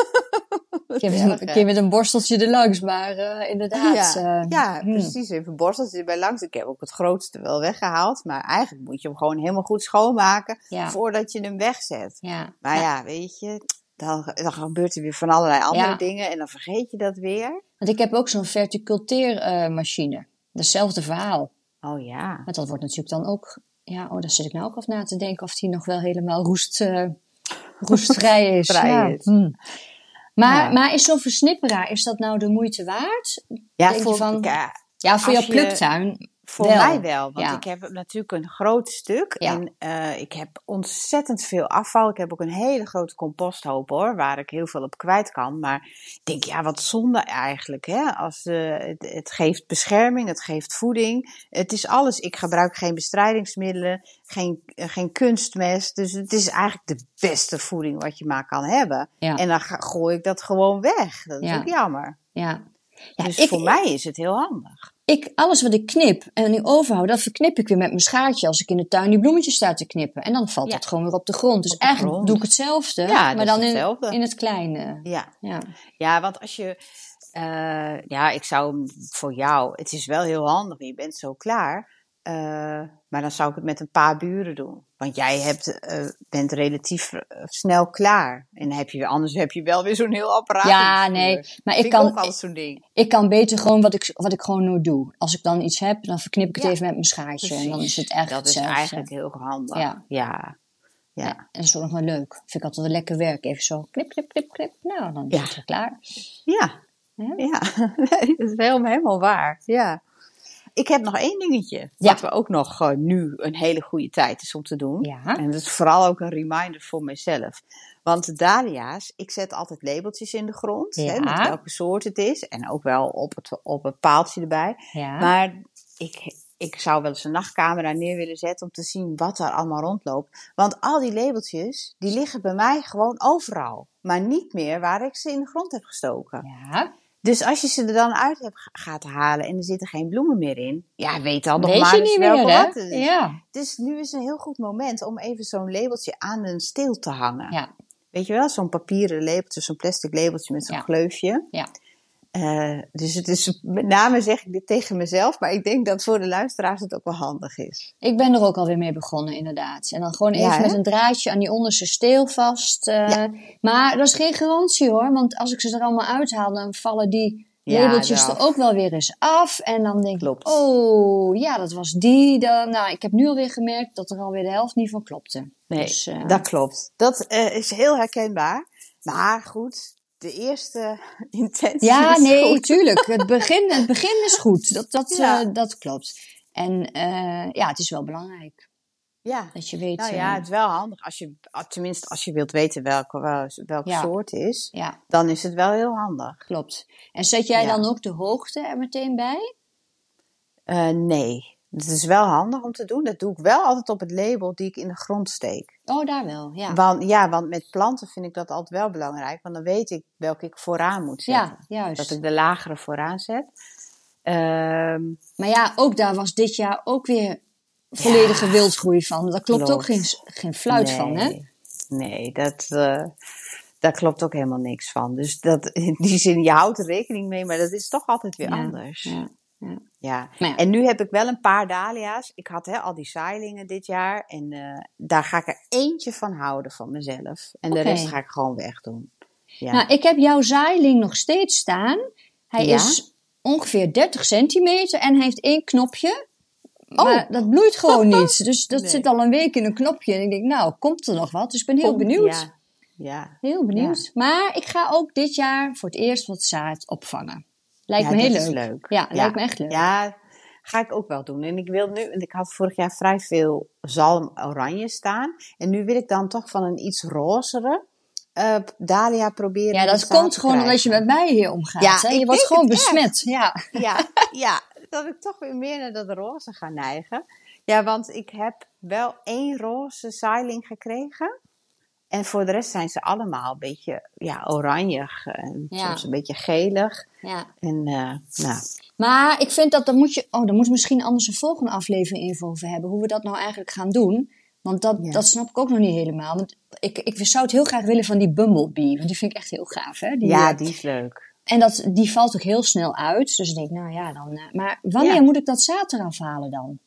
Ik heb Erg, een hè? keer met een borsteltje erlangs, maar eh, inderdaad. Ja, eh, ja hmm. precies. Even borsteltje erbij langs. Ik heb ook het grootste wel weggehaald. Maar eigenlijk moet je hem gewoon helemaal goed schoonmaken Ja. voordat je hem wegzet. Ja. Maar ja, weet je, dan, dan gebeurt er weer van allerlei andere Ja. dingen en dan vergeet je dat weer. Want ik heb ook zo'n verticulteermachine. Hetzelfde verhaal. Oh ja. Maar dat wordt natuurlijk dan ook... Ja, oh, daar zit ik nou ook af na te denken of die nog wel helemaal roest, eh, roestvrij is. Vrij ja. is. hmm. Maar, Ja. maar is zo'n versnipperaar, is dat nou de moeite waard? Ja, eh, Denk je voor, van- ja, Ja, voor Als jouw je- pluktuin. voor Wel, mij wel. Want ja. ik heb natuurlijk een groot stuk. Ja. En eh, ik heb ontzettend veel afval. Ik heb ook een hele grote composthoop hoor. Waar ik heel veel op kwijt kan. Maar ik denk, ja, wat zonde eigenlijk. Hè? Als, eh, het, het geeft bescherming, het geeft voeding. Het is alles. Ik gebruik geen bestrijdingsmiddelen, geen, eh, geen kunstmest. Dus het is eigenlijk de beste voeding wat je maar kan hebben. Ja. En dan ga- gooi ik dat gewoon weg. Dat is Ja. ook jammer. Ja. Ja, dus ik, voor mij is het heel handig. ik, alles wat ik knip en nu overhoud, dat verknip ik weer met mijn schaartje als ik in de tuin die bloemetjes sta te knippen. En dan valt Ja. dat gewoon weer op de grond. Dus Op de eigenlijk grond. doe ik hetzelfde, Ja, dat maar is dan in, hetzelfde. in het kleine. Ja. Ja. Ja, want als je. eh, ja, ik zou hem voor jou. Het is wel heel handig, je bent zo klaar. eh, maar dan zou ik het met een paar buren doen. Want jij hebt, eh, bent relatief eh, snel klaar. En dan heb je, anders heb je wel weer zo'n heel apparaat. in Ja, het vuur. nee, maar Vind ik ook kan, e altijd zo'n ding. ik kan beter gewoon wat ik, wat ik gewoon nu doe. Als ik dan iets heb, dan verknip ik het Ja, even met mijn schaartje. En dan is het Precies. echt eh, Dat is hetzelfde. eigenlijk heel handig. Ja. ja. ja. En dat is ook nog wel leuk. Vind ik altijd wel lekker werk. Even zo knip, knip, knip, knip. Nou, dan Ja. is het klaar. Ja, Ja. ja. Nee, dat is helemaal, helemaal waar. Ja. Ik heb nog één dingetje. Ja. Wat we ook nog eh, nu een hele goede tijd is om te doen. Ja. En dat is vooral ook een reminder voor mezelf. Want de dahlia's, ik zet altijd labeltjes in de grond. Hè, Ja. met welke soort het is. En ook wel op, het, op een paaltje erbij. Ja. Maar ik, ik zou wel eens een nachtcamera neer willen zetten om te zien wat daar allemaal rondloopt. Want al die labeltjes, die liggen bij mij gewoon overal. Maar niet meer waar ik ze in de grond heb gestoken. ja. Dus als je ze er dan uit hebt ge- gaat halen en er zitten geen bloemen meer in, ja, weet dan nog Weet maar je eens niet welke meer, wat het hè? is. Ja. Dus nu is een heel goed moment om even zo'n labeltje aan een steel te hangen. Ja. Weet je wel, zo'n papieren labeltje, zo'n plastic labeltje met zo'n Ja. gleufje. Ja. Eh, dus het is, met name zeg ik dit tegen mezelf, maar ik denk dat voor de luisteraars het ook wel handig is. Ik ben er ook alweer mee begonnen, inderdaad. En dan gewoon Ja, even hè? met een draadje aan die onderste steel vast. eh, Maar dat is geen garantie hoor, want als ik ze er allemaal uithaal, dan vallen die Ja, labeltjes eraf. er ook wel weer eens af. En dan denk Klopt. ik, oh ja, dat was die. Dan, nou, ik heb nu alweer gemerkt dat er alweer de helft niet van klopte. Nee, Dus, eh, dat klopt. Dat eh, is heel herkenbaar. Maar goed, de eerste intentie. Ja, is nee, goed. tuurlijk. Het begin, het begin is goed. Dat, dat, Ja. eh, dat klopt. En eh, ja, het is wel belangrijk Ja. dat je weet. Nou ja, eh, het is wel handig. Als je, ah, tenminste, als je wilt weten welke, wel- welk Ja. soort is, ja, dan is het wel heel handig. klopt. En zet jij Ja. dan ook de hoogte er meteen bij? Eh, nee, het is wel handig om te doen. Dat doe ik wel altijd op het label die ik in de grond steek. Oh, daar wel. Ja, Want, ja, want met planten vind ik dat altijd wel belangrijk, want dan weet ik welke ik vooraan moet zetten. ja juist. Dat ik de lagere vooraan zet. Ehm, Maar ja, ook daar was dit jaar ook weer volledige wildgroei van. Daar klopt, ook Klopt. geen, geen fluit van, hè? nee. Nee, dat, eh, daar klopt ook helemaal niks van. Dus dat, in die zin, je houdt er rekening mee, maar dat is toch altijd weer Ja, anders. Ja. Ja. Maar ja. En nu heb ik wel een paar dahlia's. Ik had hè, al die zaailingen dit jaar. En eh, daar ga ik er eentje van houden van mezelf. En Oké. de rest ga ik gewoon wegdoen. Ja. Nou, ik heb jouw zaailing nog steeds staan. Hij Ja? is ongeveer 30 centimeter en hij heeft één knopje. Maar dat bloeit gewoon niet. Dus dat Oh. Nee. zit al een week in een knopje. En ik denk, nou, komt er nog wat? Dus ik ben heel Kom- benieuwd. Ja. ja. Heel benieuwd. Maar ik ga ook dit jaar voor het eerst wat zaad opvangen. Lijkt Ja, me heel dat is leuk. leuk. Ja, Ja. lijkt me echt leuk. Ja, ga ik ook wel doen. En ik wil nu, want ik had vorig jaar vrij veel zalm oranje staan. En nu wil ik dan toch van een iets rozere eh dahlia proberen. Ja, in dat de zaad komt te gewoon omdat krijgen. je met mij hier omgaat. Ja, hè? ik Je wordt denk gewoon het echt. besmet. Ja. Ja, ja, dat ik toch weer meer naar dat roze ga neigen. Ja, want ik heb wel één roze zeiling gekregen. En voor de rest zijn ze allemaal een beetje ja, oranjig en Ja. soms een beetje gelig. ja. En eh, nou, Maar ik vind dat dan moet je. Oh, daar moet misschien anders een volgende aflevering even over hebben. Hoe we dat nou eigenlijk gaan doen. Want dat, Ja. dat snap ik ook nog niet helemaal. Want ik, ik zou het heel graag willen van die Bumblebee. Want die vind ik echt heel gaaf. Hè? Die, ja, eh, die is leuk. En dat, die valt ook heel snel uit. Dus ik denk, nou ja, dan. eh, maar wanneer Ja. moet ik dat zaad eraf halen dan?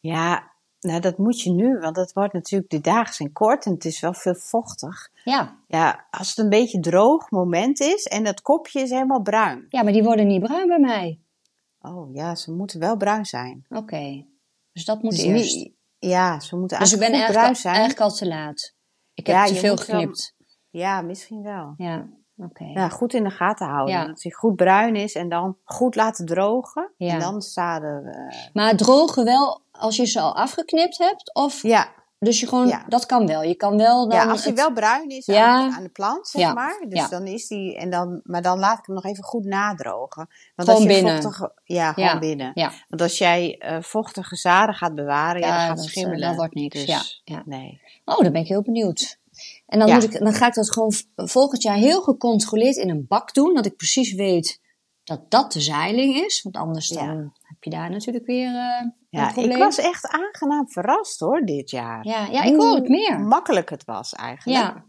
Ja, nou dat moet je nu, want dat wordt natuurlijk, de dagen zijn kort en het is wel veel vochtig. Ja. Ja, als het een beetje droog moment is en dat kopje is helemaal bruin. ja, maar die worden niet bruin bij mij. Oh ja, ze moeten wel bruin zijn. Oké. Dus dat moet Dus niet- eerst. ja, ze moeten Dus ik eigenlijk ben goed eigenlijk, bruin al- zijn. eigenlijk al te laat. Ik heb Ja, te je veel moet wel- geknipt. Ja, misschien wel. Ja, oké. Ja, goed in de gaten houden. Ja. Dat hij goed bruin is en dan goed laten drogen. Ja. En dan zaden we. Maar drogen wel als je ze al afgeknipt hebt? Of Ja, Dus je gewoon, Ja. dat kan wel. Je kan wel dan. ja als hij het- wel bruin is aan- Ja. aan, de plant, zeg Ja. maar. Dus Ja. dan is die, en dan, maar dan laat ik hem nog even goed nadrogen. Want Gewoon als je binnen. vochtige- ja, gewoon Ja. binnen. Ja, Want als jij eh, vochtige zaden gaat bewaren, ja, ja, dan gaat dat, eh, schimmelen. dat wordt niks. Dus, Ja, ja. nee. Oh, dan ben ik heel benieuwd. En dan, Ja. moet ik, dan ga ik dat gewoon v- volgend jaar heel gecontroleerd in een bak doen. Dat ik precies weet dat dat de zeiling is. Want anders Ja. dan heb je daar natuurlijk weer eh, een Ja, probleem. ik was echt aangenaam verrast hoor, dit jaar. ja, ja, ik hoor het Hoe meer. makkelijk het was eigenlijk. Ja.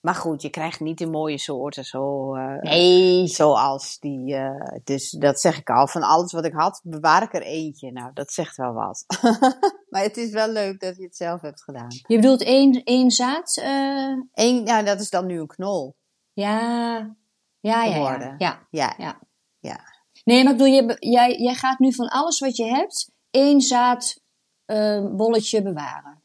Maar goed, je krijgt niet de mooie soorten zo, eh, Nee. zoals die. eh, dus dat zeg ik al. Van alles wat ik had, bewaar ik er eentje. Nou, dat zegt wel wat. maar het is wel leuk dat je het zelf hebt gedaan. Je bedoelt één, één zaad? eh, Eén, nou, dat is dan nu een knol. ja. Ja, ja, ja. Geworden. ja. Ja, Ja. Ja. Nee, maar ik bedoel, jij, jij, jij gaat nu van alles wat je hebt één zaad eh, bolletje bewaren.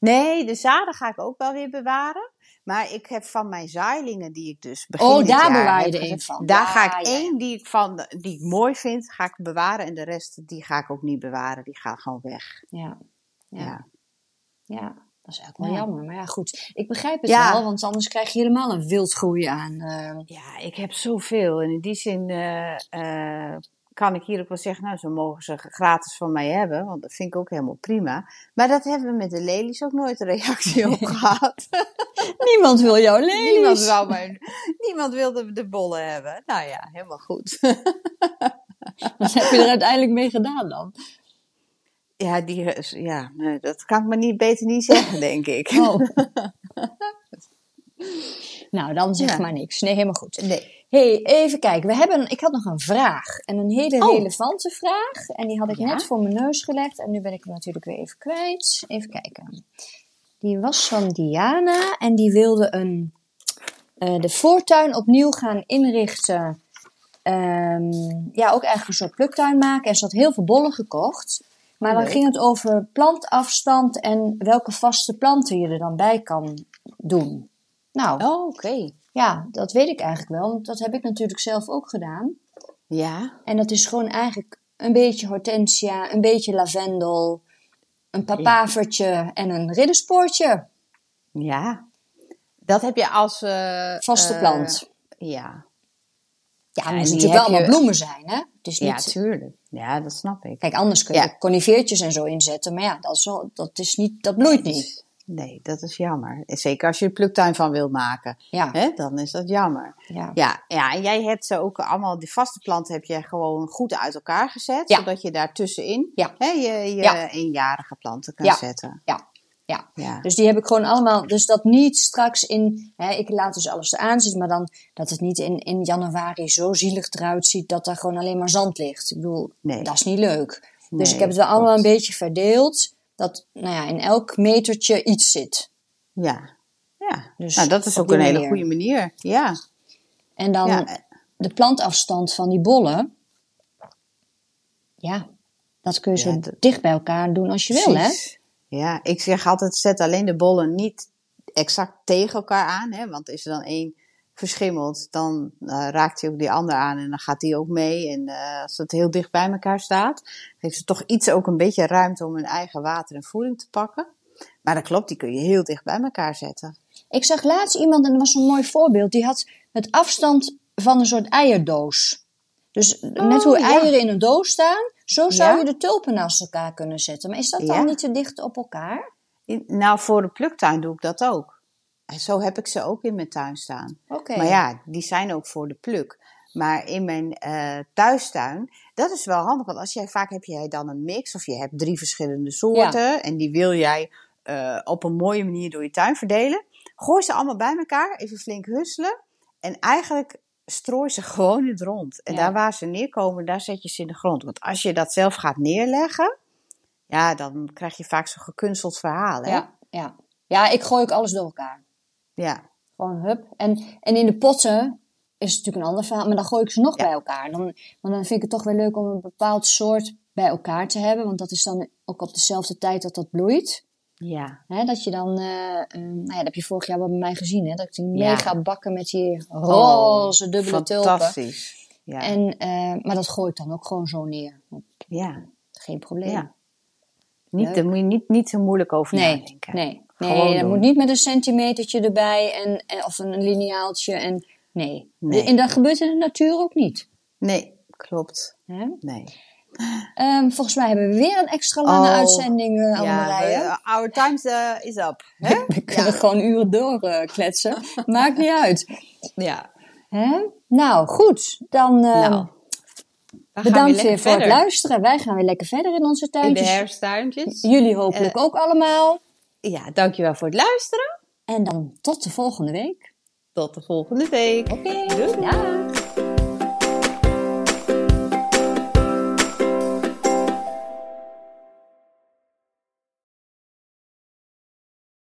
Nee, de zaden ga ik ook wel weer bewaren. Maar ik heb van mijn zaailingen die ik dus begin Oh, dit daar jaar bewaar je heb er één gezet, van. Daar Ja, ga ik ja, ja. één die ik, van, de- die ik mooi vind, ga ik bewaren. En de rest, die ga ik ook niet bewaren. Die gaan gewoon weg. Ja. Ja. Ja, ja. ja, dat is eigenlijk wel Ja. jammer. Maar ja, goed. Ik begrijp het Ja. wel, want anders krijg je helemaal een wildgroei aan. eh. ik heb zoveel. En in die zin eh, eh, kan ik hier ook wel zeggen, nou, ze mogen ze gratis van mij hebben. Want dat vind ik ook helemaal prima. Maar dat hebben we met de lelies ook nooit een reactie op gehad. Niemand wil jouw lelies. Niemand, wou mijn, niemand wilde de bollen hebben. Nou ja, helemaal goed. Wat heb je er uiteindelijk mee gedaan dan? Ja, die, is- ja nee, dat kan ik me niet, beter niet zeggen, denk ik. Oh. nou, dan zeg Ja. maar niks. Nee, helemaal goed. Nee. hey, even kijken. We hebben, ik had nog een vraag. En een hele Oh. relevante vraag. En die had ik Ja? net voor mijn neus gelegd. En nu ben ik hem natuurlijk weer even kwijt. Even kijken. Die was van Diana. En die wilde een, eh, de voortuin opnieuw gaan inrichten. Ehm, ja, ook eigenlijk een soort pluktuin maken. En ze had heel veel bollen gekocht. Maar dan Leuk. ging het over plantafstand en welke vaste planten je er dan bij kan doen. Nou, Oh, oké. Ja, dat weet ik eigenlijk wel, want dat heb ik natuurlijk zelf ook gedaan. Ja. En dat is gewoon eigenlijk een beetje hortensia, een beetje lavendel, een papavertje en een ridderspoortje. Ja. Dat heb je als... eh, Vaste eh, plant. Ja. Ja, maar en het die moeten natuurlijk wel heb allemaal je- bloemen zijn, hè? Het is Ja, niet... tuurlijk. Ja, dat snap ik. Kijk, anders kun je Ja. conifeertjes en zo inzetten, maar ja, dat, is wel- dat, is niet, dat bloeit niet. Nee, dat is jammer. Zeker als je er pluktuin van wilt maken. Ja, Hè, dan is dat jammer. ja. Ja, ja, en jij hebt ze ook allemaal, die vaste planten heb je gewoon goed uit elkaar gezet. Ja. Zodat je daartussenin Ja. hè, je, je Ja. eenjarige planten kan Ja. zetten. Ja. Ja. ja. Dus die heb ik gewoon allemaal. Dus dat niet straks in. Hè, ik laat dus alles eraan zitten, maar dan dat het niet in, in januari zo zielig eruit ziet dat daar gewoon alleen maar zand ligt. Ik bedoel, Nee. dat is niet leuk. Dus Nee, ik heb het wel klopt. allemaal een beetje verdeeld. Dat nou ja, in elk metertje iets zit. Ja. ja. Dus nou, dat is op ook die een hele manier. goede manier. Ja. En dan Ja, eh, de plantafstand van die bollen. Ja, dat kun je Ja, zo dat- dicht bij elkaar doen als je wil, hè? precies. Ja, ik zeg altijd, zet alleen de bollen niet exact tegen elkaar aan. Hè, want is er dan één verschimmeld, dan eh, raakt hij ook die ander aan en dan gaat die ook mee. En eh, als het heel dicht bij elkaar staat, geeft ze toch iets ook een beetje ruimte om hun eigen water en voeding te pakken. Maar dat klopt, die kun je heel dicht bij elkaar zetten. Ik zag laatst iemand, en dat was een mooi voorbeeld, die had het afstand van een soort eierdoos. Dus net hoe Oh, ja. eieren in een doos staan, zo zou Ja. je de tulpen naast elkaar kunnen zetten. Maar is dat dan Ja. niet te dicht op elkaar? In- Nou, voor de pluktuin doe ik dat ook. En zo heb ik ze ook in mijn tuin staan. Oké. Maar ja, die zijn ook voor de pluk. Maar in mijn eh thuistuin, dat is wel handig. Want als jij vaak heb jij dan een mix of je hebt drie verschillende soorten. En die wil jij eh, op een mooie manier door je tuin verdelen. Gooi ze allemaal bij elkaar, even flink husselen. En eigenlijk strooi ze gewoon in het rond. En Ja. daar waar ze neerkomen, daar zet je ze in de grond. Want als je dat zelf gaat neerleggen, ja, dan krijg je vaak zo'n gekunsteld verhaal. Hè? ja, ja. ja, ik gooi ook alles door elkaar. ja. Gewoon hup. En, en in de potten is het natuurlijk een ander verhaal, maar dan gooi ik ze nog Ja. bij elkaar. Dan, want dan vind ik het toch weer leuk om een bepaald soort bij elkaar te hebben, want dat is dan ook op dezelfde tijd dat dat bloeit. ja. Hè, dat je dan, eh, eh, nou ja, dat heb je vorig jaar wel bij mij gezien, hè, dat ik die Ja. Oh, mega bakken met die roze dubbele tulpen. Fantastisch. Ja. En, eh, maar dat gooi ik dan ook gewoon zo neer. ja. Geen probleem. Ja. Niet, Leuk. daar moet je niet, niet zo moeilijk over Nee, nadenken. nee. Gewoon Nee, dat doen. moet niet met een centimetertje erbij en, en- of een lineaaltje. En, nee. Nee. En dat gebeurt in de natuur ook niet. Nee, klopt. Hè? Nee. Ehm, volgens mij hebben we weer een extra lange Oh, uitzending, eh Annemarije. we- our time eh, is up. Hè? We kunnen gewoon uren door eh, kletsen. Maakt niet uit. ja. Hè? Nou, goed. Dan ehm, nou, eh, we gaan weer Bedankt lekker weer voor verder. het luisteren. Wij gaan weer lekker verder in onze In de Eh. tuintjes. herfstuintjes. Jullie hopelijk ook allemaal. Ja, dankjewel voor het luisteren. En dan tot de volgende week. Tot de volgende week. Oké, Doei. dag.